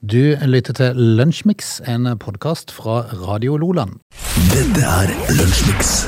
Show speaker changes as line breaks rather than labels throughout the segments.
Du lytter til Lunsjmix, en podkast fra Radio Loland.
Dette er Lunsjmix.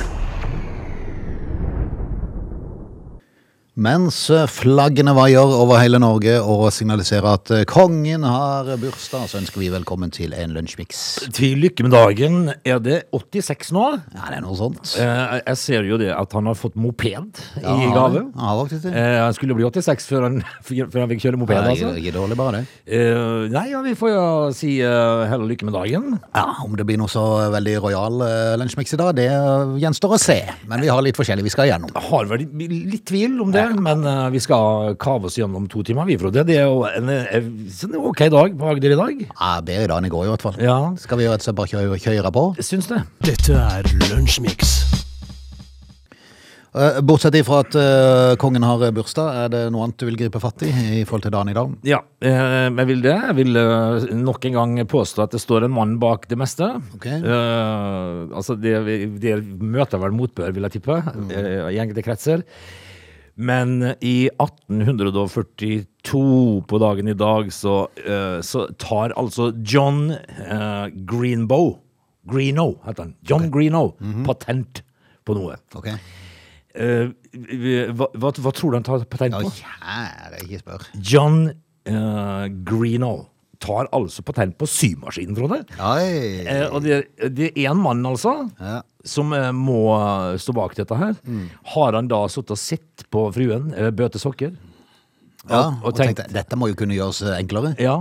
Mens flaggene vaier over hele Norge og signaliserer at kongen har bursdag, så ønsker vi velkommen til en Lunsjmix.
Til lykke med dagen. Er det 86 nå?
Ja, det er noe sånt.
Eh, jeg ser jo det at han har fått moped i gave.
Ja, faktisk det.
Eh, han skulle bli 86 før han, før han fikk kjøre moped,
Ja,
altså.
ikke, ikke dårlig, bare det.
Eh, nei, ja, vi får jo si eh, hell og lykke med dagen.
Ja, Om det blir noe så veldig rojal eh, lunsjmix i dag, det eh, gjenstår å se. Men vi har litt forskjellig vi skal igjennom.
Har vel litt tvil om det, men eh, vi skal kave oss gjennom to timer, vi, Frode. Det er jo en, eh, en, en ok dag på Agder i dag.
Ja, Bedre i dag enn i går, i hvert fall.
Ja,
Skal vi rett og slett bare kjøre, kjøre på?
jeg syns det.
Dette er Lunsjmix.
Eh, Bortsett ifra at eh, kongen har bursdag, er det noe annet du vil gripe fatt i i forhold til dagen i dag?
Ja, eh, jeg vil det. Jeg vil eh, nok en gang påstå at det står en mann bak det meste.
Ok.
Eh, altså, det, det møter vel motbør, vil jeg tippe,
Mm.
eh, i enkelte kretser. Men i 1842, på dagen i dag, så, eh, så tar altså John eh, Greenbow Greenow heter han. John Greenow.
Mhm.
Patent på noe.
Ok.
Eh, hva, hva, hva tror du han tar patent
Ja,
på?
kjære, ikke spør.
John eh, Greenough tar altså patent på symaskinen, Frode.
Oi.
Eh, og det, det er én mann, altså,
Ja.
som eh, må eh, stå bak dette her. Har han da sittet og sett på fruen eh, bøte sokker?
Ja,
og
og tenkte,
tenkte-
dette må jo kunne gjøres eh, enklere.
Ja.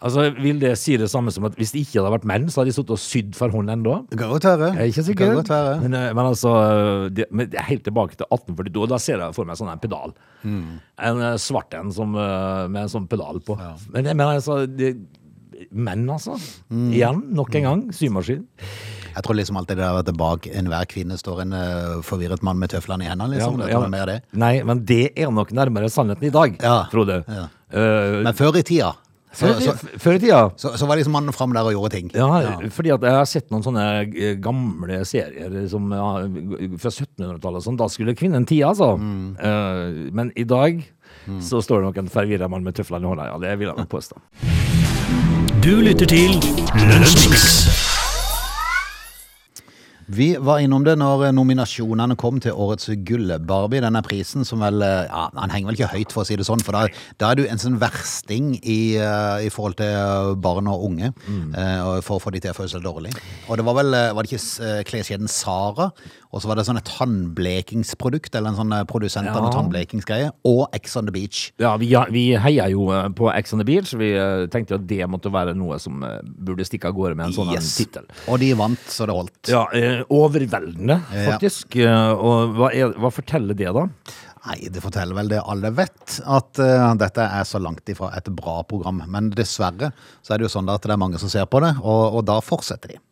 Altså, Vil det si det samme som at hvis det ikke hadde vært menn, så hadde de sittet og sydd for hånd ennå?
Det kan godt være.
Jeg er ikke
Det kan
sikker.
godt være.
Men, eh, men altså, eh, det, men det er helt tilbake til 1842, og da ser jeg for meg sånn en pedal.
Mm.
En eh, svart en som, eh, med en sånn pedal på. Men, jeg mener altså, det, menn altså.
Mm.
Igjen, nok en gang, symaskin.
Jeg tror liksom alltid det der at bak enhver kvinne står en eh, forvirret mann med tøflene i hendene, liksom. Jeg tror det er mer det.
Nei, men det er nok nærmere sannheten i dag,
Ja.
Frode.
Ja.
Eh,
Men før i tida, så,
før,
så,
i- før i tida
så, så var liksom mannen fram der og gjorde ting.
Ja, fordi at jeg har sett noen sånne eh, gamle serier som, ja, fra 1700-tallet og sånn. Da skulle kvinnen tie, altså. Eh, men i dag så står det nok en forvirra mann med tøflene i hånda. Ja, det vil jeg nok påstå.
Du lytter til Lunsjmix.
Vi var innom det når eh, nominasjonene kom til årets gull. Barbie, denne prisen som vel eh, ja, Han henger vel ikke høyt, for å si det sånn, for da, da er du en sånn versting i, eh, i forhold til eh, barn og unge
Mm.
eh, og for å få de til å føle seg dårlig. Og det var vel eh, Var det ikke s- eh, kleskjeden Sara, og så var det sånn et tannblekingsprodukt, eller en sånn eh, produsent av noe
Ja.
tannblekingsgreie, og Ex on the Beach.
Ja, vi, ja, vi heia jo eh, på Ex on the Beach. Vi eh, tenkte jo at det måtte være noe som eh, burde stikke av gårde med en sånn yes. tittel.
Og de vant, så det holdt.
Ja, eh, overveldende,
Ja.
faktisk. Eh, og hva, er, hva forteller det, da?
Nei, det forteller vel det alle vet, at eh, dette er så langt ifra et bra program. Men dessverre så er det jo sånn da at det er mange som ser på det, og, og da fortsetter de.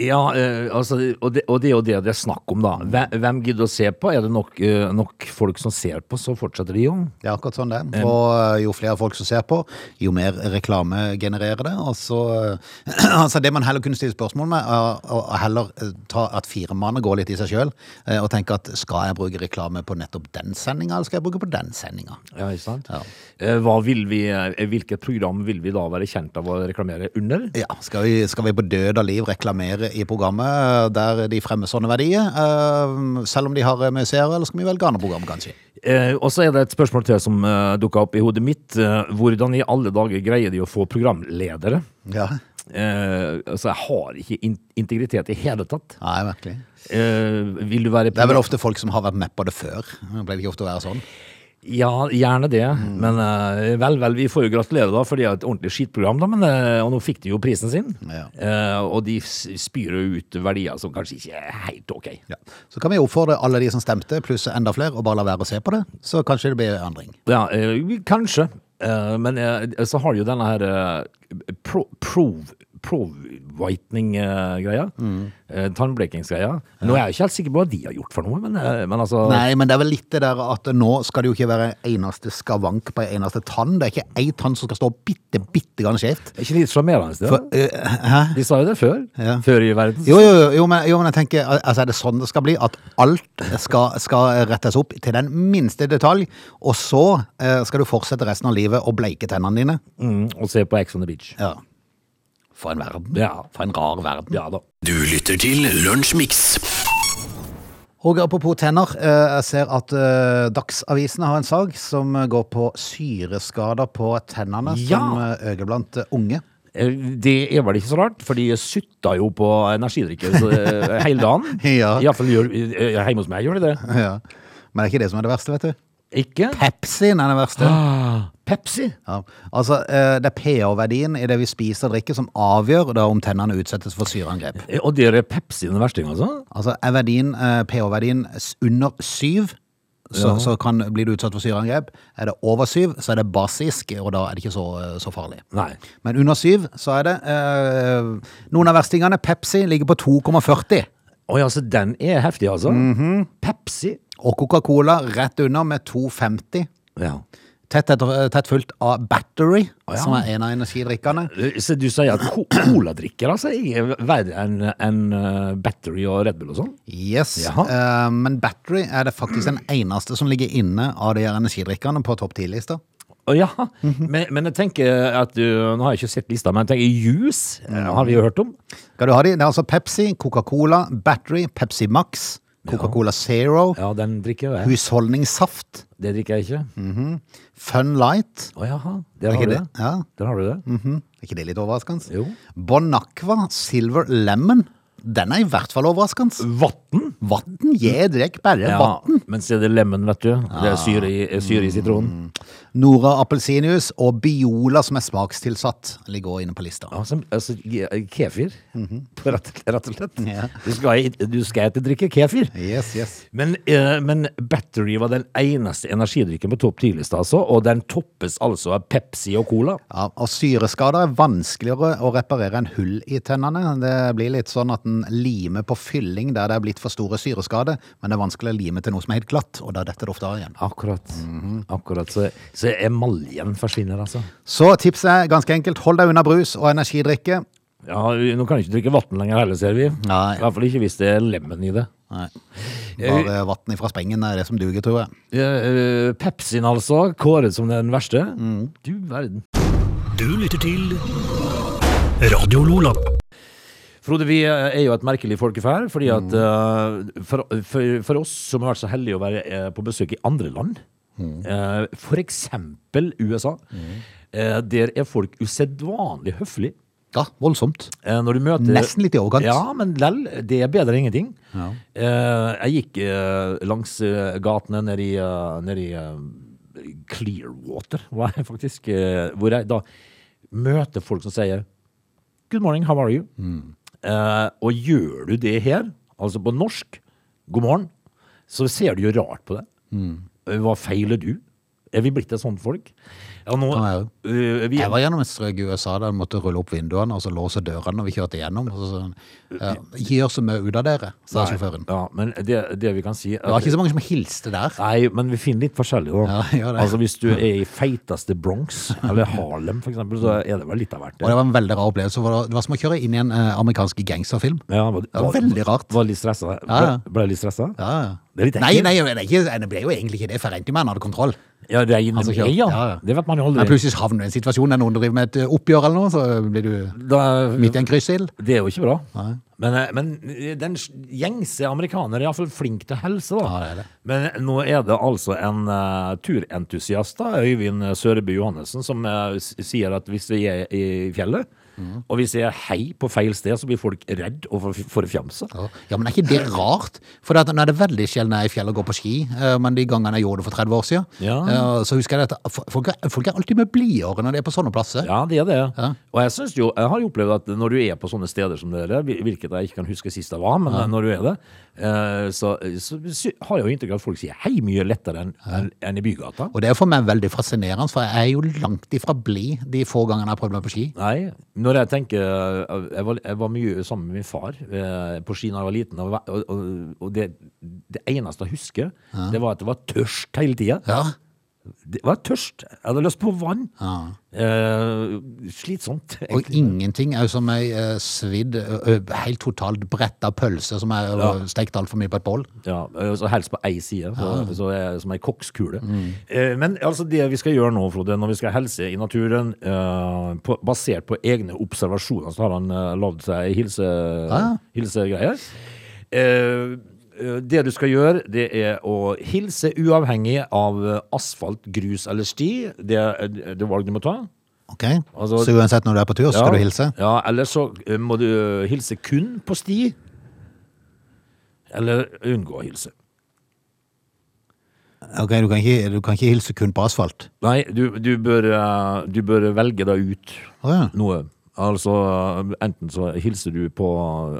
Ja, eh, altså, og, det, og det er jo det det er snakk om, da. Hvem, hvem gidder å se på? Er det nok, eh, nok folk som ser på, så fortsetter de jo.
Det er akkurat sånn det er. Og eh, jo flere folk som ser på, jo mer reklame genererer det. Og så, eh, altså det man heller kunne stille spørsmål med, er å å heller eh, ta at firmaene går litt i seg sjøl og tenke at skal jeg bruke reklame på nettopp den sendinga, eller skal jeg bruke på den sendinga?
Ja, ikke sant?
Ja.
Eh, Hva vil vi, eh, hvilket program vil vi da være kjent av å reklamere under?
Ja, skal vi, skal vi på død av liv reklamere i programmet eh, der de fremmer sånne verdier? eh, selv om de har eh, mye seere, eller skal vi velge andre program, kanskje?
Eh, og så er det et spørsmål til som eh, dukka opp i hodet mitt. Eh, hvordan i alle dager greier de å få programledere?
Ja.
Eh, altså, jeg har ikke in integritet i hele tatt.
Nei, virkelig.
Eh, vil du være
Det er vel ofte folk som har vært med på det før. Det Pleier det ikke ofte å være sånn?
Ja, gjerne det.
Mm.
Men eh, vel, vel, vi får jo gratulere, da, for de har et ordentlig skitprogram, da. Men, eh, og nå fikk de jo prisen sin.
Ja.
Eh, og de s- spyr jo ut verdier som kanskje ikke er helt OK.
Ja. Så kan vi oppfordre alle de som stemte, pluss enda flere, og bare la være å se på det. Så kanskje det blir endring.
Ja, eh, vi- kanskje. Eh, men eh, så har de jo denne her eh, pro, prov... Prov... whitening-greia.
Mm.
Eh, Tannblekingsgreia. Nå er jeg ikke helt sikker på hva de har gjort for noe, men, eh, men altså
Nei, men det er vel litt det der at nå skal det jo ikke være en eneste skavank på en eneste tann. Det er ikke ei tann som skal stå bitte, bitte grann skjevt.
Er ikke litt sjarmerende? det?
For, eh, hæ?
De sa jo det før.
Ja.
Før i verden.
Jo, jo, jo, jo, men, jo, men jeg tenker al- altså, Er det sånn det skal bli? At alt skal, skal rettes opp til den minste detalj, og så eh, skal du fortsette resten av livet å bleike tennene dine?
Mm, og se på Ex on the Beach.
Ja. For en verden.
Ja.
For en rar verden.
Ja da.
Du lytter til Lunsjmix.
Og apropos tenner, eh, jeg ser at eh, Dagsavisene har en sag som eh, går på syreskader på tennene
Ja.
som eh, øker blant eh, unge.
Eh, Det er vel ikke så rart, for de sutta jo på energidrikker så, eh, hele dagen.
Ja.
Iallfall eh, hjemme hos meg gjør de det.
Ja. Men det er ikke det som er det verste, vet du.
Ikke?
Pepsien er det verste.
Ah, Pepsi.
Ja. Altså, eh, det er pH-verdien i det vi spiser og drikker som avgjør da om tennene utsettes for syreangrep.
Eh, Og der er Pepsi den versting, altså?
Altså, er verdien, eh, pH-verdien s- under syv, så, så kan, blir du utsatt for syreangrep. Er det over syv, så er det basisk, og da er det ikke så, eh, så farlig.
Nei.
Men under syv, så er det eh, Noen av verstingene, Pepsi, ligger på 2,40.
Oi, altså, den er heftig, altså. Pepsi.
Og Coca-Cola rett under med 2,50.
Ja.
Tett, etter, tett fulgt av Battery,
ja.
som er en av energidrikkene.
Eh, Så du sier at co- coladrikker altså, er verre enn enn, eh, Battery og Red Bull og sånn?
Yes.
Jaha.
Eh, men Battery er det faktisk den eneste som ligger inne av de her energidrikkene på topp 10-lista.
Å, Ja, men, men jeg tenker at du, Nå har jeg ikke sett lista, men jeg tenker juice eh, har vi jo hørt om.
Skal du ha de? Det er altså Pepsi, Coca-Cola, Battery, Pepsi Max, Coca-Cola Zero,
Ja, den drikker jo jeg.
husholdningssaft,
Det drikker jeg ikke. Å
Fun Light.
jaha, der
Er
har
ikke
du
det?
det. Mm.
Ja.
Der har du det.
mhm. Er ikke det litt overraskende?
Jo.
Bon Aqua, Silver Lemon. Den er i hvert fall overraskende.
Vann?
Vann gir deg bare
Mm. Ja, Ah.
vann.
men så er det lemon, vet du. Det er syre i, eh, syre i sitronen.
Nora appelsinjuice og Biola, som er smakstilsatt, ligger også inne på lista.
Altså, altså ge- kefir, på rett, rett og slett.
Ja.
Du skal, i- du skal ikke drikke kefir.
Yes, yes.
Men, eh, men Battery var den eneste energidrikken på topp 10-lista, altså, og den toppes altså av Pepsi og Cola.
Ja, og syreskader er vanskeligere å reparere enn hull i tennene. Det blir litt sånn at en limer på fylling der det er blitt for store syreskader, men det er vanskelig å lime til noe som er helt glatt, og da detter det ofte av igjen.
Akkurat. Mhm. Akkurat. Så, så emaljen forsvinner, altså.
Så tipset er ganske enkelt, hold deg unna brus og energidrikke.
Ja, Nå kan du ikke drikke vann lenger heller, ser vi.
Nei.
I hvert fall ikke hvis det er lemon i det.
Nei. Bare vann fra spengen er det som duger, tror jeg.
Eh, eh, Pepsien, altså. Kåret som den verste. Du verden.
Du lytter til Radio Lola.
Frode, vi eh, er jo et merkelig folkeferd, fordi at eh, for, for, for oss som har vært så heldige å være eh, på besøk i andre land, eh, for eksempel USA, eh, der er folk usedvanlig høflige.
Ja, voldsomt.
Eh, når du møter
Nesten litt i overkant.
Ja, men lell, det er bedre enn ingenting.
Ja.
Eh, jeg gikk eh, langs eh, gatene nede i, eh, nede i eh, Clearwater, var jeg faktisk, eh, hvor jeg da møter folk som sier Good morning, how are you?
Mm.
Eh, og gjør du det her, altså på norsk, god morgen, så ser du jo rart på det.
Mm.
Eh, Hva feiler du? Er vi blitt et sånt folk? Ja, nå,
Ja, ja.
eh, vi,
Jeg var gjennom et strøk i USA der en måtte rulle opp vinduene og så låse dørene når vi kjørte gjennom. Og så, sa han, «Ja, ikke gjør så mye ut av dere, sa sjåføren.
Ja, men det, det vi kan si
Det var ikke så mange som hilste der.
Nei, men vi finner litt forskjellig da.
Ja, gjør det.
Altså hvis du er i feiteste Bronx, eller Harlem for eksempel, så er det vel litt av hvert.
Og det var en veldig rar opplevelse. for Det var- det var som å kjøre inn i en eh, amerikansk gangsterfilm.
Ja, var,
var veldig rart.
Var litt stresset.
Ja, ja.
Ble, ble litt stresset?
Ja, ja.
Det er litt
nei,
ekkelt.
nei, det, er ikke, det ble jo egentlig ikke det, for jeg regnet jo med han hadde kontroll.
Ja, regner
Altså,
med,
kjørt.
ja.
Ja, ja.
Det vet man jo
Men
aldri.
plutselig havner du i en situasjon der noen driver med et eh, oppgjør eller noe, så blir du
Da,
midt i en kryssild.
det er jo ikke bra. Men, eh, men den s- gjengse amerikaner er i hvert fall flink til helse da.
Ja, det er det.
Men nå er det altså en eh, turentusiast, da, Øyvind Søreby Johannessen, som eh, s- sier at hvis vi er i fjellet, og hvis jeg er hei på feil sted, så blir folk redd og for, for fjamse.
Ja. ja, men er ikke det rart? For det at, nå er det veldig sjelden jeg er i fjellet og går på ski, eh, men de gangene jeg gjorde det for 30 år siden,
Ja.
eh, så husker jeg det at f- folk er, folk er alltid mye blidere når de er på sånne plasser.
Ja, det er det.
Ja.
Og jeg, synes jo, jeg har jo opplevd at når du er på sånne steder som dere, hvil- hvilket jeg ikke kan huske sist jeg var, men eh, når du er det, eh, så, så, sy- har jeg jo inntrykk av at folk sier hei mye lettere enn enn- enn i bygata.
Og det er for meg veldig fascinerende, for jeg er jo langt ifra blid de få gangene jeg har prøvd meg på ski.
Nei, Når jeg tenker eh, Jeg var, jeg var mye sammen med min far eh, på ski da jeg var liten, og, og, og- og det, det eneste jeg husker, det var at jeg var tørst hele tida.
Ja.
Det var tørst. Jeg hadde lyst på vann.
Ja.
Eh, slitsomt.
Og ingenting er jo som ei eh, svidd, ø- ø, helt totalt bretta pølse som er ja. stekt altfor mye på et bål.
Ja, eh, så helst på ei side, så, så er, som ei kokskule.
Mm.
Eh, men altså det vi skal gjøre nå, Frode, når vi skal helse i naturen, eh, på, basert på egne observasjoner, så har han eh, lagd seg ei hilse,
ja.
hilsegreie. Eh, eh, det du skal gjøre, det er å hilse uavhengig av eh, asfalt, grus eller sti. Det er eh, det er valg du må ta.
Ok?
Altså-
så uansett når du er på tur, så skal
Ja.
du hilse?
Ja, eller så eh, må du eh, hilse kun på sti. Eller unngå å hilse.
Ok, Du kan ikke, du kan ikke hilse kun på asfalt?
Nei, du, du, bør, eh, du bør velge deg ut
Å ja.
noe. Altså, eh, enten så hilser du på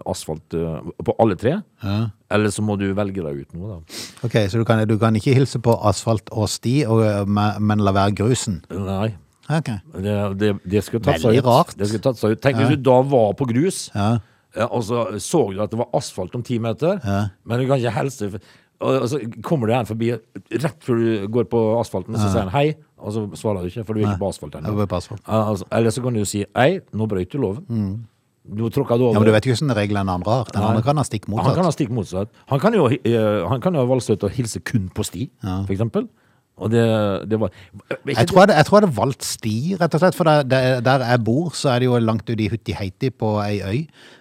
asfalt eh, på alle tre,
Ja.
eller så må du velge deg ut noe, da.
Ok, Så du kan, du kan ikke hilse på asfalt og sti, og, ø, me- men la være grusen?
Nei,
Ok.
det, det, det skulle tatt seg
Veldig
ut.
rart.
Det skulle tatt seg ut. Tenk hvis du da var på grus,
Ja.
ja, og så så du at det var asfalt om ti meter,
Ja.
men du kan ikke helse for- og og så kommer det en forbi rett før du går på asfalten, og så sier han hei, og så svarer du ikke, for du er ikke på asfalt
Jeg
ennå.
vil bare svare.
Ja, Altså, eller så kan du jo si Ei, nå brøyt du loven. Nå tråkka du
Mm.
over.
Ja, men Du vet ikke hvordan reglene andre har. Den andre kan ha stikk
Han kan
motsatt.
ha stikk motsatt. Han kan jo, eh, han kan jo ha valgt å hilse kun på sti, for eksempel. Og det, det var
Jeg tror jeg, hadde- jeg tror jeg hadde valgt sti, rett og slett. For der, der, der jeg bor, så er det jo langt ute i Huttiheiti på ei øy.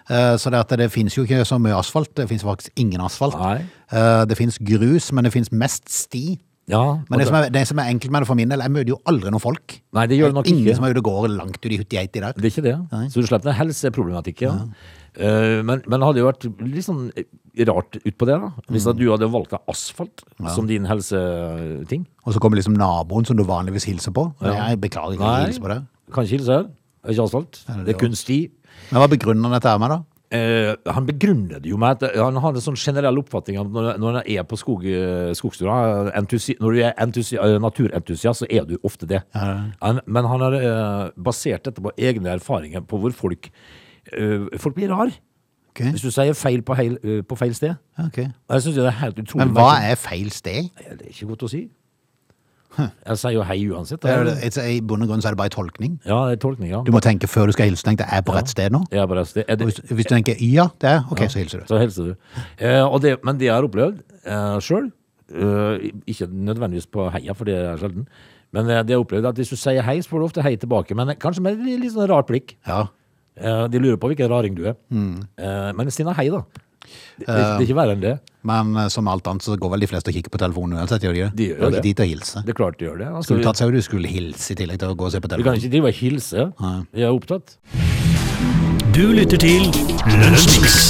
Eh, Så det, at det finnes jo ikke så mye asfalt. Det finnes faktisk ingen asfalt.
Nei.
Eh, Det finnes grus, men det finnes mest sti.
Ja, altså,
Men det
og
som, er, det som er enkelt med det for min del, jeg møter jo aldri noen folk.
Nei, det gjør du nok
ingen
ikke.
som er ute og går langt ute i Huttiheiti der.
Det er ikke det. Så du slipper den helseproblematikken. Eh, men, men det hadde jo vært litt sånn rart utpå det, da.
Mm.
Hvis at du hadde valgt deg asfalt som din helseting.
Og så kommer liksom naboen som du vanligvis hilser på. Nei, jeg beklager ikke å hilse på det.
kan ikke hilse her. Det er Ikke asfalt.
det
Det er kun sti.
Men hva begrunner dette her med, da?
Eh, han begrunner det jo med at han har en sånn generell oppfatning av at når, når han er på skog, skogstur, han er entusi, når du er entusi, eh, naturentusiast, så er du ofte det. Han, men han har eh, basert dette på egne erfaringer på hvor folk eh, Folk blir rar
Ok,
hvis du sier feil på, heil, eh, på feil sted.
ok.
Og Jeg syns det er helt utrolig.
Men hva er feil sted?
merkelig. Det er ikke godt å si. Jeg sier jo hei uansett.
Det er,
da.
jo- it's- I bunn og grunn så er det bare en tolkning.
Ja, det er tolkninga.
Du må tenke før du skal hilse. Tenk, det er jeg på rett sted nå.
Ja, bare, altså, det, er
Og
det,
Hvis, hvis du tenker ja, det er ok, så hilser du.
Så hilser du. Eh, og det, men det jeg har opplevd eh, sjøl, eh, ikke nødvendigvis på heia, for det er sjelden, men eh, det jeg har opplevd er at hvis du sier hei, så får du ofte hei tilbake, men kanskje med et litt sånn rart blikk.
Ja.
Eh, de lurer på hvilken raring du er.
Mm.
Eh, men si nå hei, da. Det, det, det
Eh,
er ikke verre enn det.
Men eh, som alt annet så går vel de fleste og kikker på telefonen uansett, gjør de det?
De gjør
Du har ikke
det.
tid til å hilse.
Det er klart de gjør det. Altså,
Skulle
du,
tatt seg ut, du skulle hilse i tillegg til å gå og se på
du kan
telefonen.
ikke drive og hilse. Jeg er opptatt.
Du lytter til Lunsjmix.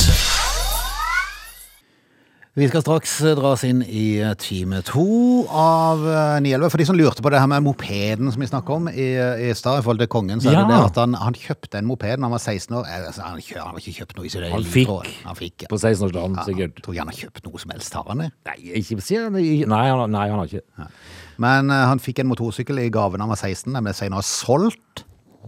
Vi skal straks eh, dra oss inn i eh, time to av eh, 911. For de som lurte på det her med mopeden som vi snakket om i, eh, i stad, i forhold til kongen, så er det det
Ja.
at han, han kjøpte en moped da han var 16 år. Eh, Altså, han, kjø, han har ikke kjøpt noe i sitt
Han
eget liv,
fikk.
tror jeg. Han fikk.
På 16-årsdagen, sikkert.
Jeg tror ikke han har kjøpt noe som helst, har han det?
Nei, ikke si Nei, han- nei, han har ikke.
Men eh, han fikk en motorsykkel i gave da han var 16. Den ble senere solgt.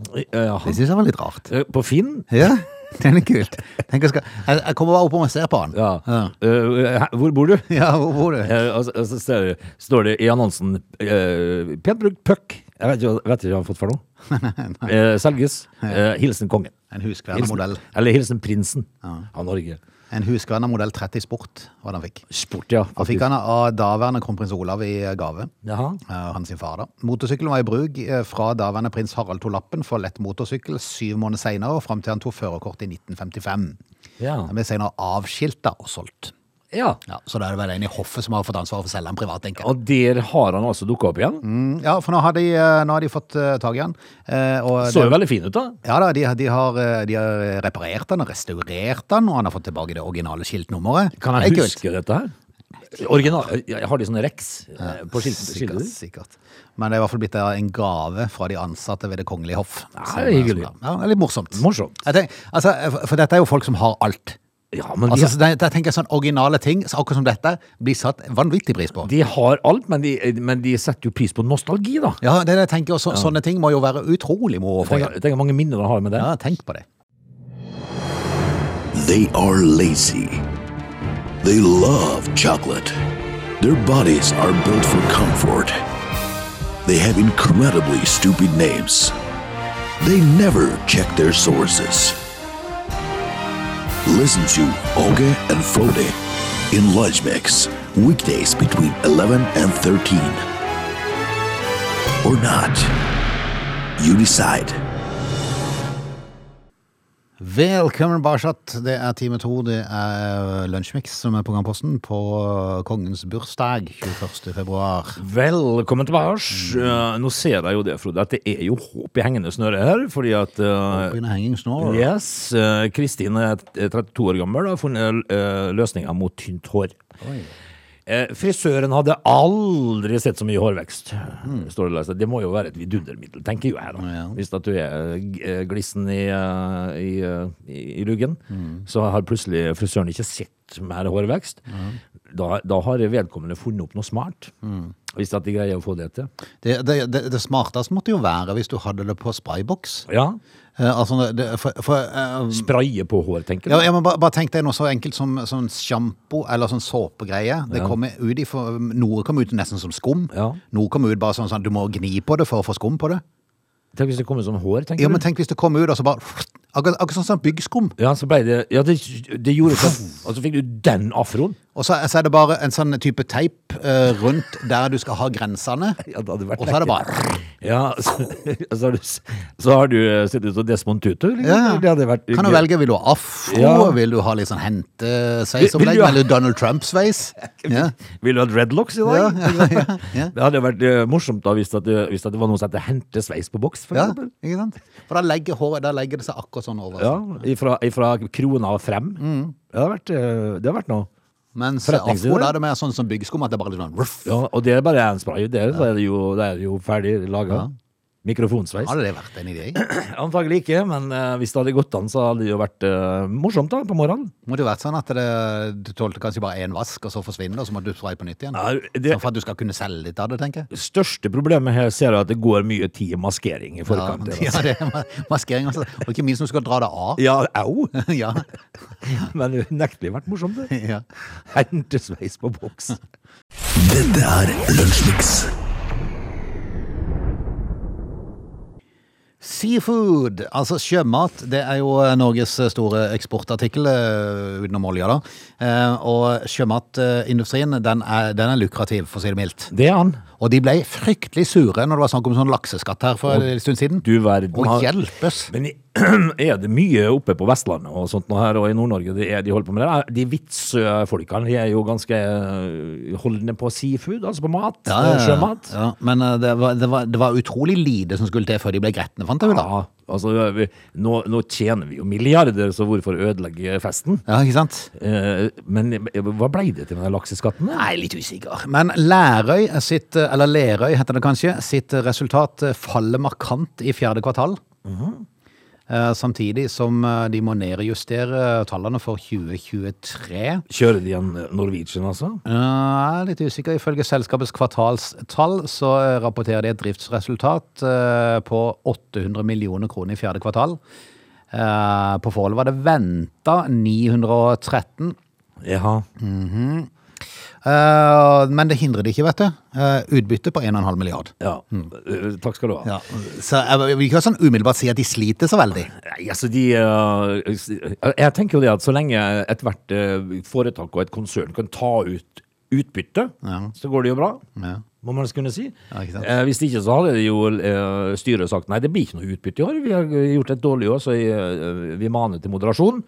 Eh,
Det
han,
syns jeg var litt rart.
eh, på Finn
Ja, det er litt kult. Tenk, jeg, skal, jeg, jeg kommer bare opp og ser på han.
Ja.
Ja,
Eh, hæ- hvor bor du?
ja hvor bor du?
Eh, Og så, og så ser du, står det i annonsen eh, Pent brukt puck. Jeg vet ikke, hva- vet ikke hva han har fått for noe. Eh, selges. Eh, hilsen kongen.
En huskverna modell.
Hilsen, eller hilsen prinsen av Norge.
En huskverna modell 30 Sport var det han fikk.
Sport, ja.
Han fikk
faktisk.
han av daværende kronprins Olav i gave.
Jaha.
eh, og Han sin far da. Motorsykkelen var i bruk eh, fra daværende prins Harald to Lappen for lett motorsykkel syv måneder senere og fram til han tok førerkort i 1955.
Ja.
Han ble senere avskilt da og solgt.
ja.
Ja, så da er det vel en i hoffet som har fått ansvaret for å selge den privat, tenker jeg.
Og der har han altså dukka opp igjen.
Mm, Ja, for nå har de, eh, nå har de fått eh, tag i han. eh, Og
Så jo
det,
veldig fin ut, da.
ja da, de, de, har, eh, de har reparert han og restaurert han, og han har fått tilbake det originale skiltnummeret.
Kan
Det
jeg
er kult.
huske dette her? Original, jeg har de sånne Rex eh, på skilt-
Sikkert,
skiltet?
sikkert. Men det er i hvert fall blitt eh, en gave fra de ansatte ved det kongelige hoff.
Ja,
Som-
det er hyggelig.
som- Ja, det er litt morsomt.
Morsomt.
eh, Jeg tenker, altså, for- for dette er jo folk som har alt.
Ja, men de,
Altså, så der, der tenker jeg sånn originale ting, så akkurat som dette, blir satt vanvittig pris på.
de har alt, men de, men de setter jo pris på nostalgi, da.
Ja, det er det jeg tenker, og så, sånne ting må jo være utrolig moro å få
Tenk
gjøre.
tenk hvor mange minner de har med det.
Ja, tenk på det.
They are lazy. They love chocolate. Their bodies are built for comfort. They have incredibly stupid names. They never check their sources. Listen to Oge and Frode in Lunch Mix, weekdays between 11 and 13. Or not. You decide.
Velkommen Barshat, det er time to, det er Lunsjmix som er programposten på kongens bursdag 21. februar.
Velkommen tilbake.
Mm.
Eh, nå ser jeg jo det, Frode, at det er jo håp i hengende snøre her. Fordi at eh,
Begynner henging snår.
Yes, eh, Kristin er t- er 32 år gammel og har funnet eh, løsninger mot tynt hår. Eh, frisøren hadde aldri sett så mye hårvekst. Står det, altså. det må jo være et vidundermiddel, tenker jo jeg. da.
Ja.
Hvis at du er g- eh, glissen i, eh, i, eh, i, i luggen, så har plutselig frisøren ikke sett mer hårvekst. Da, da har vedkommende funnet opp noe smart, hvis at de greier å få det til.
Det, det, det, det smarteste måtte jo være hvis du hadde det på sprayboks.
Ja,
Eh, altså, det, for, for, eh,
Spraye på hår, tenker du.
ja, ja, men bare, bare tenk deg noe så enkelt som sånn sjampo eller sånn såpegreie. Det kommer ut i for- Noe kommer ut nesten som skum.
Ja.
Noe kommer ut bare sånn sånn, du må gni på det for å få skum på det.
Tenk hvis det kommer sånn hår,
Ja,
tenker du.
men tenk hvis det kommer ut og så bare Akkurat, akkurat sånn som byggskum.
Ja, så ble det Ja, det, det gjorde sånn. Og så fikk du den afroen.
Og så, så er det bare en sånn type teip eh, rundt der du skal ha grensene.
Ja, det hadde vært
Og så er det bare
Ja, så, så, har, du, s- så har du eh, sett ut som Desmond Tutu. Liksom.
Ja.
Det hadde vært
Kan du velge, vil du ha afro,
Ja.
vil du ha litt sånn
Vil- vil
hentesveisopplegg,
du ha-
eller Donald Trump-sveis? Ja.
Vil du ha dreadlocks i
Ja,
dag?
ja, ja, ja.
Det hadde vært eh, morsomt da hvis, at, det- hvis at det var noen som het hentesveis på boks, for
ja,
eksempel.
ikke sant? For da legger håret da legger det seg akkurat sånn over.
Ja, ifra, ifra krona og frem.
Mm.
Det hadde vært, eh, det hadde vært noe.
Mens
Forretningsidé.
afro, da er det mer sånn som byggskum, at det bare er litt sånn ruff.
Ja, og det er bare en spray. Det er, da er det jo, det er det jo ferdig laga. Mikrofonsveis.
Hadde det vært en idé?
Antagelig ikke, men eh, hvis det hadde gått an, så hadde det jo vært eh, morsomt da, på morgenen.
Må det vært sånn at det, du tålte kanskje bare én vask, og så forsvinner det, og så må du spraye på nytt igjen?
Ja, det-
Sånn for at du skal kunne selge litt av det, tenker jeg.
største problemet her ser jeg at det går mye tid i maskering i
Ja,
forkant.
ja, det er ma- maskering også. Og ikke minst når du skal dra det av.
Ja, au!
Ja,
Men unektelig vært morsomt, det.
ja.
Hentesveis på boks.
Dette er Lunsjmix.
Seafood, altså sjømat, det er jo eh, Norges store eksportartikkel eh, utenom olja, da. Eh, Og sjømatindustrien, den er, den er lukrativ, for å si det mildt.
Det er han.
Og de ble fryktelig sure når det var snakk om sånn lakseskatt her for en stund siden.
Du verden.
Å hjelpes!
Men i- er det mye oppe på Vestlandet og sånt nå her, og i Nord-Norge de, er- de holder på med det? Er- De vitsfolkene de er jo ganske øh, holdne på seafood, altså på mat. og Sjømat.
Ja, men eh, det var, det, var, det var utrolig lite som skulle til før de ble gretne, fant jeg ut. da.
Ja, altså, vi, nå, nå tjener vi jo milliarder, så hvorfor ødelegge festen?
Ja, ikke sant?
Eh, men eh, hva blei det til med den lakseskatten? da?
Nei, litt usikker. Men Lærøy sitt, eller Lerøy heter det kanskje, sitt resultat faller markant i fjerde kvartal. Eh, Samtidig som eh, de må nedjustere tallene for 2023.
Kjører de en Norwegian, altså?
Eh, Jeg er litt usikker. Ifølge selskapets kvartalstall så eh, rapporterer de et driftsresultat eh, på 800 millioner kroner i fjerde kvartal. Eh, På forholdet var det venta 913.
Jaha.
Mm. Eh, Men det hindrer det ikke, vet du. Eh, Utbytte på 1,5 milliard.
Ja. Eh, Takk skal du ha.
Ja, så jeg vil ikke sånn umiddelbart si at de sliter så veldig.
Nei, altså de eh, s- Jeg tenker jo det at så lenge ethvert eh, foretak og et konsern kan ta ut utbytte,
Ja.
så går det jo bra.
Ja.
Må man kunne si.
Ja, ikke sant.
Eh, hvis ikke så hadde det jo eh, styret sagt nei, det blir ikke noe utbytte i år. Vi har gjort et dårlig år, så eh, vi maner til moderasjon.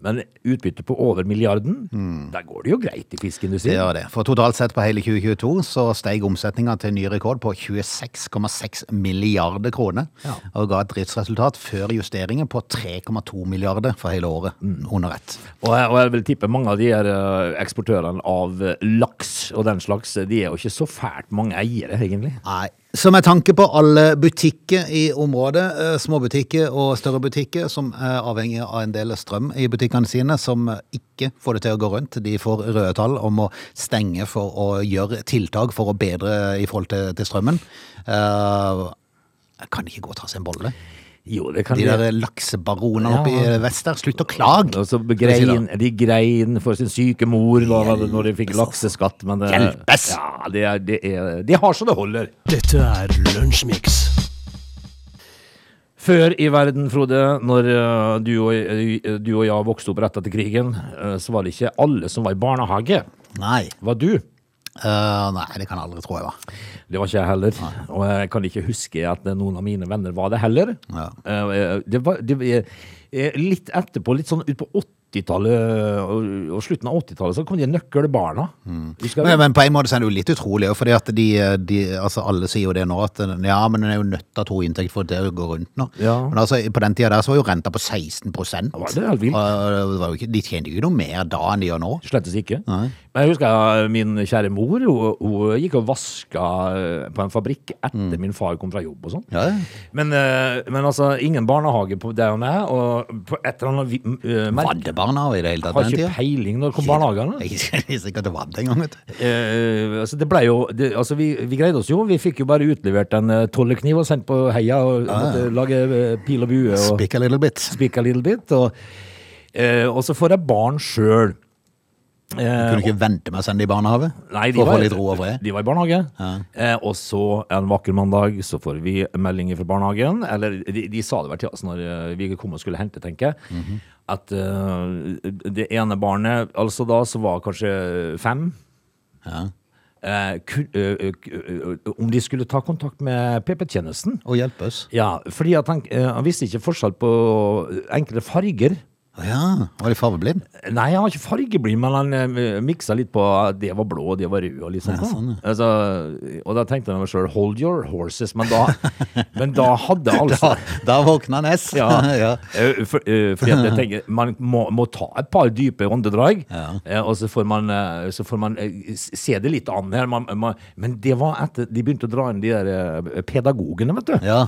Men utbytte på over milliarden,
Mm.
der går det jo greit i
Det
fiskeindustrien.
gjør det. For totalt sett på hele 2022 så steg omsetninga til ny rekord på 26,6 milliarder kroner.
Ja.
Og ga et driftsresultat før justeringer på 3,2 milliarder for hele året under ett.
Og jeg, og jeg vil tippe mange av de her eh, eksportørene av eh, laks og den slags, de er jo ikke så fælt mange eiere, egentlig.
Nei, Så med tanke på alle butikker i området, eh, småbutikker og større butikker som er avhengig av en del strøm i butikkene sine, som ikke får det til å gå rundt, de får røde tall om å stenge for å gjøre tiltak for å bedre i forhold til, til strømmen. Eh, kan de ikke gå og ta seg en bolle?
Jo, det kan
De
vi-
der laksebaronene
Ja.
oppe i vest der, slutt å klage!
Og så
Skal vi si
grein, de grein for sin syke mor da, da, når de fikk lakseskatt. Men det,
altså. Hjelpes!
Ja, det er, det er, de har så det holder.
Dette er Lunsjmix.
Før i verden, Frode, når eh, du og, eh, du og jeg vokste opp rett etter krigen, eh, så var det ikke alle som var i barnehage.
da. Nei.
Var du?
Eh, nei, det kan jeg aldri tro jeg var.
Det var ikke jeg heller. Og jeg kan ikke huske at eh, noen av mine venner var det heller.
Ja.
Eh, Det var, det, eh, litt etterpå, litt sånn utpå 80-tallet eh, og- og slutten av 80-tallet, så kom de nøkkelbarna. Husker
Mm. Men,
du?
men på en måte så er det jo litt utrolig, også, fordi at de, de, altså alle sier jo det nå, at ja, men en er jo nødt til å ha to inntekter for det å gå rundt nå.
Ja.
Men altså, på den tida der så var jo renta på 16 prosent.
Var det helt vilt?
de tjente jo ikke noe mer da enn de gjør nå.
Slettes ikke. Men jeg husker eh, min kjære mor, hun, hun gikk og vaska eh, på en fabrikk etter min far kom fra jobb og sånn.
Mm. Ja, ja.
Men, eh, men altså, ingen barnehage på der og med, og på et eller annet vi- eh, merke
Var det barna i det hele tatt på den
Har ikke
tida?
peiling når det kom barnehagene.
Jeg er ikke sikker det var det engang, vet du.
Eh, altså det ble jo det, altså vi, vi greide oss jo. Vi fikk jo bare utlevert en eh, tollekniv og sendt på heia
Ah,
og måtte lage eh, pil og bue og
Speak a little bit.
spikka little bit. Og, eh, og så får jeg barn Eh, sjøl.
Kunne du ikke vente med å sende de i barnehage? For å få litt ro og fred?
De var i barnehage. Eh, og så en vakker mandag så får vi meldinger fra barnehagen. Eller de, de sa det vel til oss når eh, vi kom og skulle hente, tenker jeg.
Mhm.
At eh, det ene barnet, altså da så var kanskje fem. Eh, ku, eh, eh, ku- eh, om de skulle ta kontakt med PP-tjenesten.
Og hjelpe oss.
Ja, fordi at han, eh, han visste ikke forskjell på eh, enkelte farger.
Å Ja, var de fargeblind?
Nei, han var ikke fargeblind, men han eh, miksa litt på at det var blå, det var rød og litt sånn. altså, og da tenkte han meg sjøl 'hold your horses', men da, men da hadde
Da,
altså
da våkna Ness.
ja,
ja.
eh, For, eh, fordi at jeg tenker, man må, må ta et par dype åndedrag, eh, og så får man, eh, så får man eh, s- se det litt an her. Man, man, men det var etter de begynte å dra inn de der eh, pedagogene, vet du.
Ja.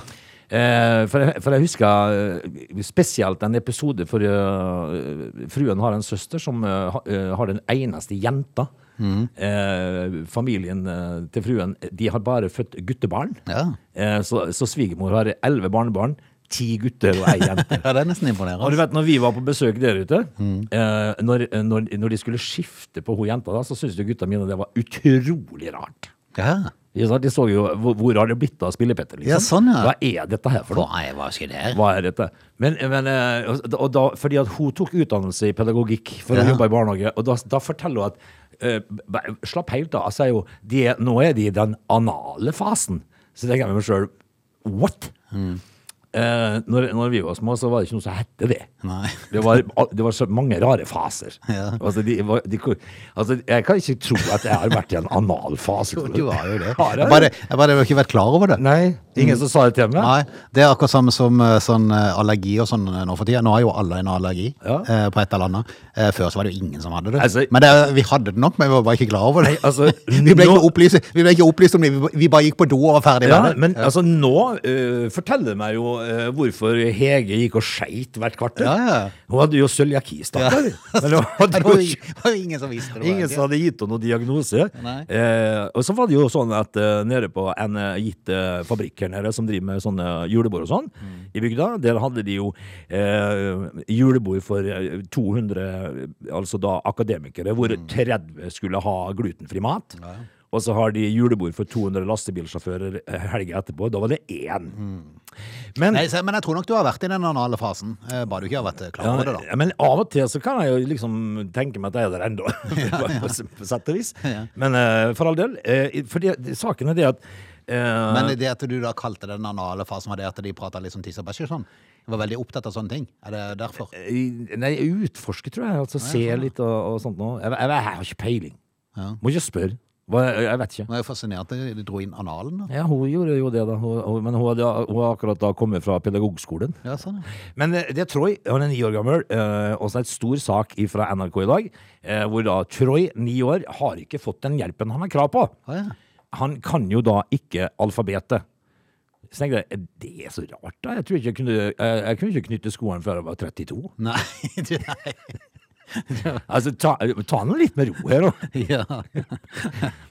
Eh, for, jeg, for jeg husker eh, spesielt en episode for eh, fruen har en søster som eh, ha- eh, har den eneste jenta.
Mm.
Eh, familien eh, til fruen de har bare født guttebarn.
Ja.
Eh, så, så svigermor har elleve barnebarn, ti gutter og ei jente.
ja, det er nesten imponerende.
Og du vet, når vi var på besøk der ute,
Mm.
eh, når, når, når de skulle skifte på hun jenta, da, så syntes jo gutta mine det var utrolig rart.
Ja.
Ikke sant? De så jo hvor, hvor har det blitt av Spille-Petter, liksom.
Ja, sånn, ja.
Hva er dette her for noe?
Nei, hva skal det her?
Hva er dette? Men, men eh, og da, fordi at hun tok utdannelse i pedagogikk for
Ja.
å jobbe i barnehage, og da, da forteller hun at eh, b- Slapp helt av, sier hun. De, er- nå er de i den anale fasen. Så tenker jeg med meg sjøl What?!
Mm.
Eh, når, når vi var små, så var det ikke noe som hette det.
Nei.
Det var, det var så mange rare faser.
Ja.
Altså, de, var- de, kunne- altså, jeg kan ikke tro at jeg har vært i en analfase.
Jo, Du har jo det.
Har jeg?
Jeg bare, jeg bare har ikke vært klar over det.
Nei, ingen som sa det til meg?
Nei, Det er akkurat samme som eh, sånn eh, allergi og sånn eh, nå for tida. Nå har jo alle en allergi
Ja.
eh, på et eller annet. Eh, før så var det jo ingen som hadde det.
Altså-
men det, vi hadde det nok, men vi var bare ikke klar over det.
Nei, altså,
vi, ble ikke
nå-
opplyst, vi ble ikke opplyst om det, vi- vi bare gikk på do og var ferdig
Ja,
med det.
men altså nå eh, forteller meg jo eh, hvorfor Hege gikk og skeit hvert kvarter.
Ja, ja.
Hun hadde jo cøliaki, stakkar. Men det var-
det
det
var
var
jo
ikke-
ingen- det var jo ingen som visste det.
Ingen som hadde gitt henne noen diagnose.
Nei.
Eh, og så var det jo sånn at eh, nede på en eh, gitt eh, fabrikk her nede som driver med sånne julebord og sånn,
Mm.
i bygda, der hadde de jo eh, julebord for eh, 200, altså da akademikere, hvor
Mm.
30 skulle ha glutenfri mat. Og så har de julebord for 200 lastebilsjåfører eh, helga etterpå. Da var det én. Men,
Mm. Nei, se, men jeg tror nok du har vært i den anale fasen. Eh, bare du ikke har vært eh, klar over det, da.
ja, men av og til så kan jeg jo liksom tenke meg at jeg er der ennå, på s- på sett og vis. Men eh, for all del. eh, for det- det- saken er det at eh,
Men det at du da kalte det den anale fasen, var det at de prata litt om tiss og bæsj og sånn? Du var veldig opptatt av sånne ting? Er det derfor?
i- Nei, utforske, tror jeg. Altså se litt og, og sånt noe. Jeg, jeg, jeg har ikke peiling. Må ikke spørre. Hva, jeg, jeg vet ikke.
Nå er jeg fascinert at de dro inn analen. Da.
Ja, hun gjorde jo det, da. Hun, hun, men hun hadde hun har akkurat da kommet fra pedagogskolen.
Ja, sånn, ja.
Men eh, det er Troy, han er ni år gammel, eh, også en stor sak fra NRK i dag, eh, hvor da Troy, ni år, har ikke fått den hjelpen han har krav på.
Å, ja.
han kan jo da ikke alfabetet. Så tenkte jeg, det er så rart da. Jeg, tror ikke jeg, kunne, jeg, jeg kunne ikke knytte skoene før jeg var 32.
Nei, du, nei.
Altså, ta, ta nå litt med ro her nå.
Ja.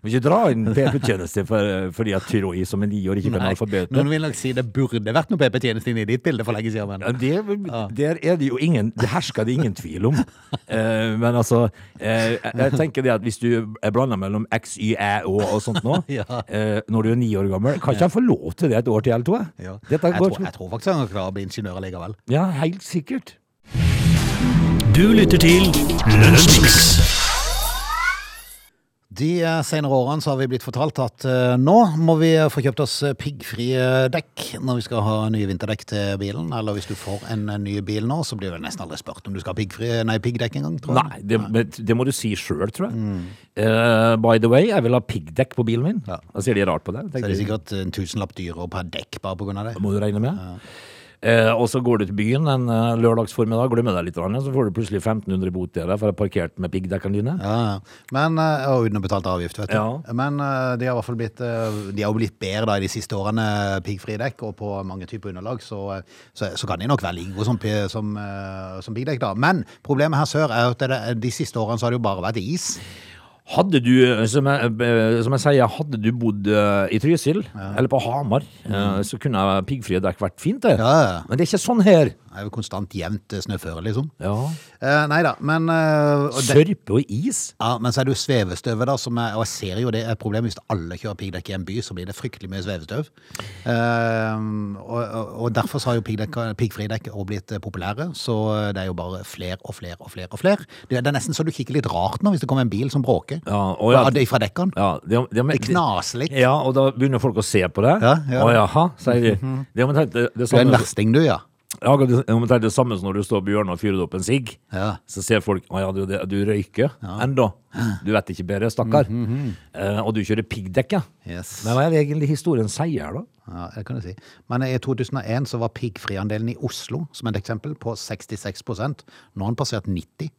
Må ikke dra inn PP-tjeneste for, fordi at Tyroi som en niår ikke kan
Nei.
alfabetet.
Noen vil nok si det burde vært noe PP-tjeneste inne i ditt bilde for lenge siden.
Ja,
Men.
Det, der er det jo ingen Det hersker det ingen tvil om. Eh, men altså, eh, jeg- jeg tenker det at hvis du er blanda mellom X, Y, Æ, Å og sånt nå,
Ja.
eh, når du er ni år gammel, kan ikke han få lov til det et år til eller to? eh?
Ja. Jeg,
Dette går
tror, jeg tror faktisk han klarer å bli ingeniør likevel.
Ja, helt sikkert.
Du lytter til Lunsjmix.
De eh, senere årene så har vi blitt fortalt at eh, nå må vi eh, få kjøpt oss eh, piggfrie dekk når vi skal ha nye vinterdekk til bilen. Eller hvis du får en eh, ny bil nå, så blir det nesten aldri spurt om du skal ha piggfri- nei, piggdekk engang. tror jeg.
Nei, det, men det må du si sjøl, tror jeg. Eh, by the way, jeg vil ha piggdekk på bilen min.
Ja.
Da sier de rart på det.
Så
Tenker
er det
jeg,
sikkert en tusenlapp dyrere per dekk bare på grunn av det.
må du regne med. Eh, og så går du til byen en eh, lørdagsformiddag, glemmer deg litt, grann, så får du plutselig 1500 bot til deg for å ha parkert med piggdekkene dine.
Ja, ja. Men, eh, og uten å betale avgift, vet du.
Ja.
Men eh, de har i hvert fall blitt, eh, de har jo blitt bedre da, i de siste årene, eh, piggfrie dekk, og på mange typer underlag, så, eh, så, så kan de nok være like gode som, pi- som, eh, som piggdekk. Da. Men problemet her sør er at det, de siste årene så har det jo bare vært is.
Hadde du, som jeg, eh, som jeg sier, hadde du bodd eh, i Trysil, eller på Hamar, eh, så kunne piggfrie dekk vært fint, det.
Mm. Ja, ja.
Men det er ikke sånn her.
Det er jo konstant jevnt eh, snøføre, liksom.
Ja.
Eh, nei da, men eh, og det,
Sørpe og is.
ja, Men så er det jo svevestøvet, da, som er, og jeg ser jo det er et problem hvis alle kjører piggdekk i en by, så blir det fryktelig mye svevestøv. Eh, og, og, og derfor så har jo piggdekk- piggfrie dekk også blitt eh, populære, så eh, det er jo bare flere og flere og flere. og flere. Det, det er nesten så du kikker litt rart nå hvis det kommer en bil som bråker
Ja, og ja,
Ja, det er fra dekkene.
ja, det, det,
Det knaser litt.
Ja, og da begynner folk å se på deg.
Ja, ja. Mhm.
Å jaha, sier de. Det er omtrent det,
Du
det
er en
samme,
versting, du, ja.
ja, det er omtrent det samme som når du står på hjørnet og fyrer opp en sigg.
Ja.
Så ser folk å ja, du, det- du røyker ennå. Du vet ikke bedre, stakkar. eh, og du kjører piggdekk, ja.
Mhm, Yes.
Men hva er det egentlig historien sier her, da?
Ja, det kan du si. Men i 2001 så var piggfriandelen i Oslo, som et eksempel, på 66 Nå har den passert 90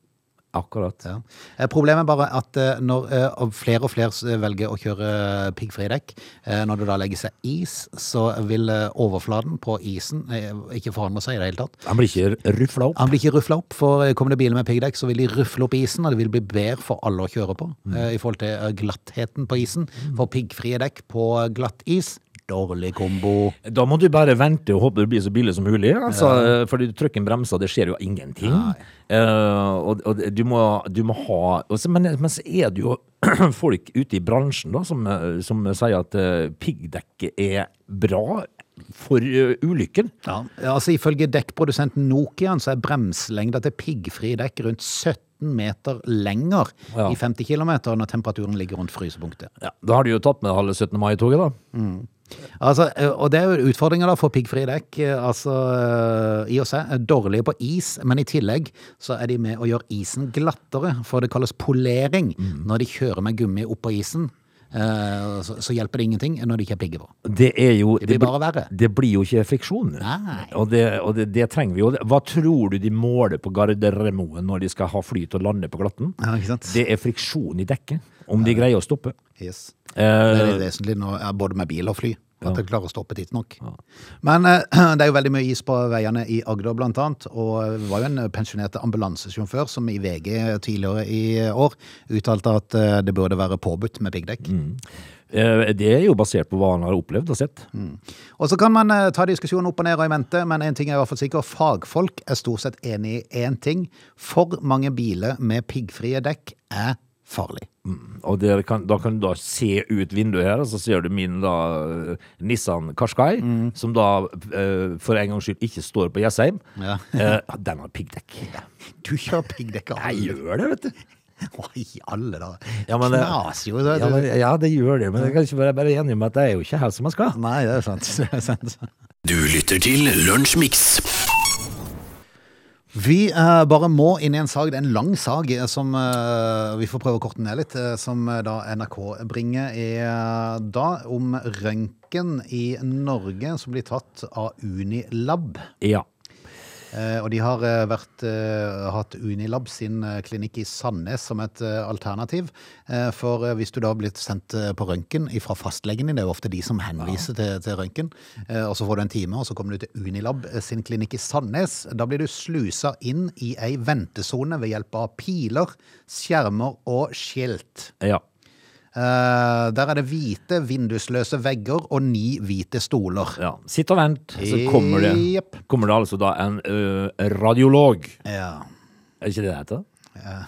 Akkurat.
ja. Eh, Problemet er bare at eh, når eh, og flere og flere s- velger å kjøre eh, piggfrie dekk, eh, når det da legger seg is, så vil eh, overflaten på isen eh, ikke forandre seg i det hele tatt.
Han blir ikke rufla opp.
Han blir ikke rufla opp, for eh, kommer det biler med piggdekk, så vil de rufle opp isen, og det vil bli bedre for alle å kjøre på eh, i forhold til eh, glattheten på isen. For piggfrie dekk på eh, glatt is, dårlig kombo.
Da må du bare vente og håpe det blir så billig som mulig. Altså, eh, Fordi du trykker en bremse, og det skjer jo ingenting. Eh, og, og det- du, må, du må ha og så- men, men så er det jo folk ute i bransjen da, som, eh, som sier at uh, piggdekket er bra for eh, ulykken.
Ja, altså Ifølge dekkprodusenten Nokian så er bremselengda til piggfrie dekk rundt 17 meter lenger
Ja.
i 50 km når temperaturen ligger rundt frysepunktet.
Ja, da har du jo tatt med halve 17. mai-toget, da.
Altså, eh, og det er jo utfordringer da for piggfrie dekk. eh, Altså, eh, I og seg er dårlige på is, men i tillegg så er de med å gjøre isen glattere, for det kalles polering når de kjører med gummi opp på isen. eh, Så, så hjelper det ingenting når det ikke er pigger på.
Det er jo
Det blir bare verre.
Det blir jo ikke friksjon.
Nei.
Og, det, og det, det trenger vi jo. Hva tror du de måler på Gardermoen når de skal ha fly til å lande på glatten?
Ja, ikke sant?
Det er friksjon i dekket, om de greier å stoppe.
Yes. Det er
Eh,
litt vesentlig nå, ja, både med bil og fly. At det klarer å stoppe tidsnok. Men eh, det er jo veldig mye is på veiene i Agder, blant annet. Og det var jo en pensjonert ambulansesjåfør som i VG tidligere i år uttalte at eh, det burde være påbudt med piggdekk.
Mm. eh, det er jo basert på hva han har opplevd og sett.
Og så kan man eh, ta diskusjonen opp og ned og i mente, men én ting er i hvert fall sikker. Fagfolk er stort sett enig i én ting. For mange biler med piggfrie dekk er farlig.
Og dere kan, da kan du da se ut vinduet her, og så ser du min da eh, Nissan Qashqai, som da eh, for en gangs skyld ikke står på Jessheim.
Ja.
Eh, den har piggdekk.
Du kjører piggdekk av
Jeg
alle.
gjør det, vet du.
Hva i alle dager?
Ja, men det-
Knas jo. så-
Ja, men, ja, det gjør det, men jeg kan ikke være bare enig om at det er jo ikke her som jeg skal.
Nei, det er sant. Det er sant.
Du lytter til Lunsjmix.
Vi eh, bare må inn i en sag, det er en lang sag eh, som eh, vi får prøve å korte ned litt, eh, som eh, da NRK bringer i eh, dag om røntgen i Norge som blir tatt av Unilab.
Ja.
Eh, Og de har eh, vært, eh, hatt Unilab sin eh, klinikk i Sandnes som et eh, alternativ. Eh, For eh, hvis du da har blitt sendt eh, på røntgen fra fastlegen din, det er jo ofte de som henviser til, til røntgen, eh, og så får du en time, og så kommer du til Unilab eh, sin klinikk i Sandnes, da blir du slusa inn i ei ventesone ved hjelp av piler, skjermer og skilt.
Ja.
Eh, Der er det hvite, vindusløse vegger og ni hvite stoler.
ja. Sitt og vent, så kommer det,
Jepp.
kommer det altså da en ø, radiolog.
Ja.
Er det ikke det det heter?
Ja.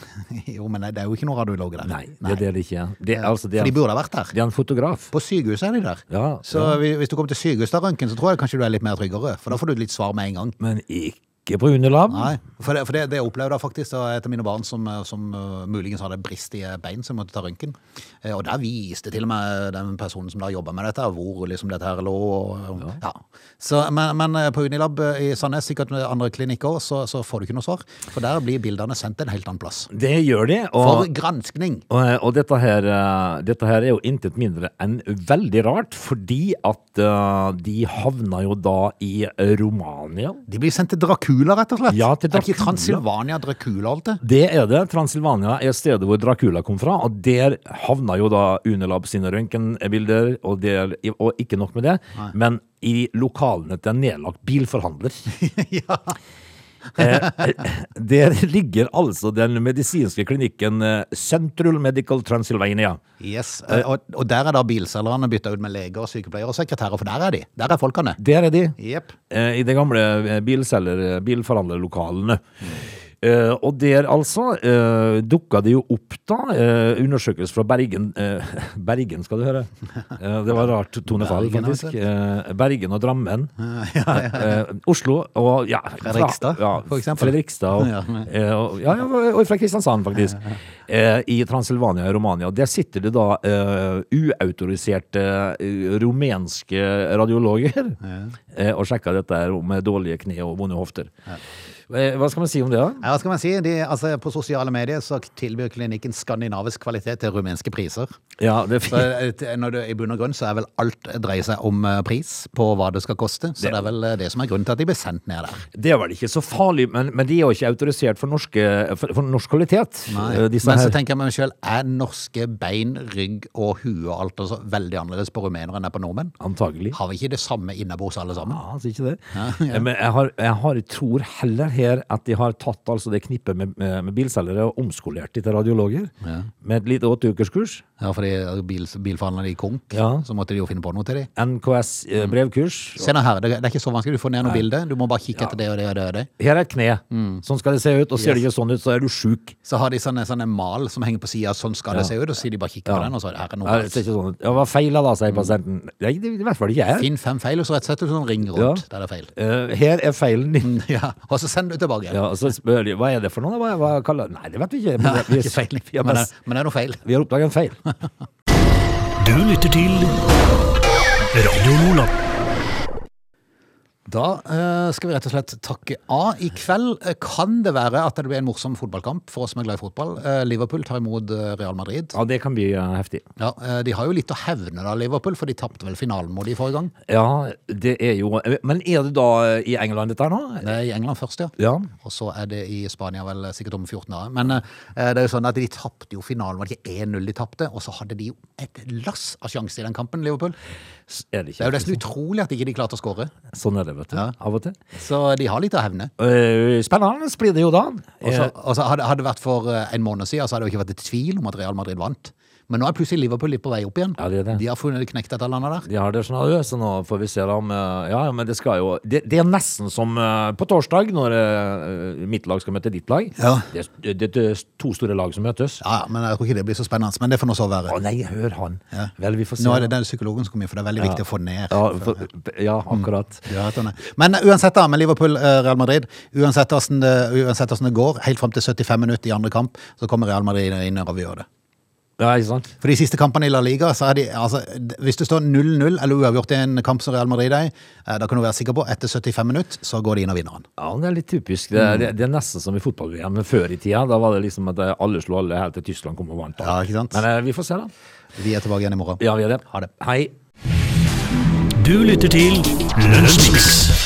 Jo, men det er jo ikke noen radiologer der.
Nei, det er det det ikke er. Det, er altså, det,
For de
er,
burde ha vært der.
det er en fotograf.
På sykehuset er de der.
Ja,
så
ja.
vi- hvis du kommer til sykehuset av røntgen, så tror jeg kanskje du er litt mer tryggere. For da får du litt svar med en gang.
Men ikke på Unilab.
Nei, For det, for det, det opplevde jeg faktisk da, etter mine barn som, eh, som eh, muligens hadde bristige eh, bein, som måtte ta røntgen. Eh, Og der viste til og med den personen som da jobba med dette, hvor liksom dette her lå. Og, ja. Så, men, men eh, på Unilab eh, i Sandnes, sikkert med andre klinikker, så, så får du ikke noe svar. For der blir bildene sendt en helt annen plass.
Det gjør de.
For
Og,
granskning!
og, eh, og dette, her, ø, dette her er jo intet mindre enn veldig rart, fordi at ø, de havna jo da i Romania.
De blir sendt til Dracula, rett og slett.
Ja, til
Er det ikke
Dracula.
Transilvania Dracula og alt det?
Det er det. Transilvania er stedet hvor Dracula kom fra, og der havna jo da Unilab sine røntgenbilder, og, der- og ikke nok med det, men i lokalene til en nedlagt bilforhandler. Eh, der ligger altså den medisinske klinikken eh, Central Medical Transylvania.
Yes, eh, og, og der er da bilselgerne bytta ut med leger, sykepleiere og sekretærer, for der er de. Der er folkene.
Der er de.
Jepp.
eh, i de gamle eh, bilselger, eh, bilforhandlerlokalene. Eh, og der altså eh, dukka det jo opp da eh, undersøkelse fra Bergen eh, Bergen, skal du høre. Eh, det var rart tonefall,
Bergen,
faktisk.
altså.
Eh, Bergen og Drammen. Eh, Oslo og ja, fra-
Fredrikstad,
ja,
for eksempel.
Fredrikstad og,
Ja.
eh, og, ja, ja, og fra Kristiansand, faktisk. Eh, I Transilvania og Romania. Der sitter det da eh, uautoriserte eh, rumenske radiologer eh, og sjekker dette her med dårlige kne og vonde hofter. Eh, Hva skal man si om det, da?
Ja, hva skal man si? De, altså, på sosiale medier så tilbyr klinikken skandinavisk kvalitet til rumenske priser.
Ja, det er
Så
fint.
eh, når det, I bunn og grunn så er vel alt dreier seg om eh, pris på hva det skal koste. Så det er vel eh, det som er grunnen til at de ble sendt ned der.
Det er vel ikke så farlig, men, men de er jo ikke autorisert for, norske, for, for norsk kvalitet. eh, disse
Men så
her.
tenker jeg meg selv, er norske bein, rygg og hue og alt og så veldig annerledes på rumenere enn det er på nordmenn?
Antagelig.
Har vi ikke det samme innabords alle sammen?
Ja, altså ikke det. Men jeg, har, jeg har, tror heller her at de har tatt altså det knippet med, med, med bilselgere og omskolert de til radiologer med et lite åtteukerskurs.
Ja, fordi bil, bilforhandlerne i Konk,
Ja.
så måtte de jo finne på noe til dem.
NKS eh, brevkurs.
Se nå her, det, det er ikke så vanskelig. Du får ned noe bilde. Du må bare kikke etter det og det og det. og det.
Her er et kne. Sånn skal det se ut. Og ser det ikke sånn ut, så er du sjuk.
Så har de sånne, sånne mal som henger på sida, sånn skal det se ut. Og så sier de bare kikker på den, og så er det her er noe.
Ja, det ser
galt.
ikke sånn ut. Ja, hva feiler da, sier pasienten. Nei, det er i hvert fall ikke jeg.
Finn fem feil, og så rett og slett en sånn ring rundt
Ja.
der det er feil.
Eh, her er feilen din.
Ja, Og så send det tilbake.
Ja, og så spør de hva er det for noe. da? Hva, hva kaller Nei, det vet vi ikke. Men, vi,
Ikke feil,
vi, har
men, det,
best-
men det er noe feil.
vi har oppdaget en feil.
Du lytter til Radio Nordland.
Da eh, skal vi rett og slett takke av. I kveld eh, kan det være at det blir en morsom fotballkamp for oss som er glad i fotball. Eh, Liverpool tar imot eh, Real Madrid.
Ja, det kan bli eh, heftig.
Ja, eh, De har jo litt å hevne, da, Liverpool, for de tapte vel finalen mot de forrige gang.
Ja, det er jo Men er det da i England dette her nå?
Det er eh, i England først, ja.
Ja.
Og så er det i Spania vel sikkert om 14 dager. Men eh, det er jo sånn at de tapte jo finalen, var det ikke 1-0 de tapte? Og så hadde de jo et lass av sjanser i den kampen, Liverpool.
S- Er det
Det er jo
ikke?
nesten utrolig at ikke de klarte å skåre.
Sånn er det, vet du.
Ja.
Av og til.
Så de har litt å hevne.
Eh, Spennende blir det jo da.
Og så
Eh,
og så hadde hadde det vært for eh, en måned siden, så hadde det jo ikke vært et tvil om at Real Madrid vant. Men nå er plutselig Liverpool litt på vei opp igjen.
Ja, det er det.
De har funnet knekt et eller annet der.
De har det sånn, ja, så nå får vi se da om eh, Ja, ja, men det skal jo Det, det er nesten som eh, på torsdag, når eh, mitt lag skal møte ditt lag.
Ja.
Det, er- det, det er to store lag som møtes.
Ja, ja, men jeg tror ikke det blir så spennende. Men det får nå så være.
Å nei, hør han. Vel, vi får se.
Nå er det den psykologen som kommer, for det er veldig viktig å sånn. få ned.
ja, for, ja, akkurat.
Ja, at han er. Men uansett da, med Liverpool, eh, Real Madrid, uansett hvordan, det, uansett hvordan det går, helt frem til 75 minutter i andre kamp, så kommer Real Madrid inn og avgjør det.
Ja, ikke sant?
For de siste kampene i La Liga, så er de, altså, d- hvis det står 0-0 eller uavgjort i en kamp som Real Madrid er i, eh, da kan du være sikker på, etter 75 minutter, så går de inn og vinner han.
Ja, det er litt typisk. Det, er- det, det er nesten som i fotball-VM før i tida. Da var det liksom at eh, alle slo alle helt til Tyskland kom og vant. da.
Ja, ikke sant?
Men eh, vi får se, da.
Vi er tilbake igjen i morgen.
Ja, vi gjør det.
Ha det.
Hei.
Du lytter til Lunsjmix.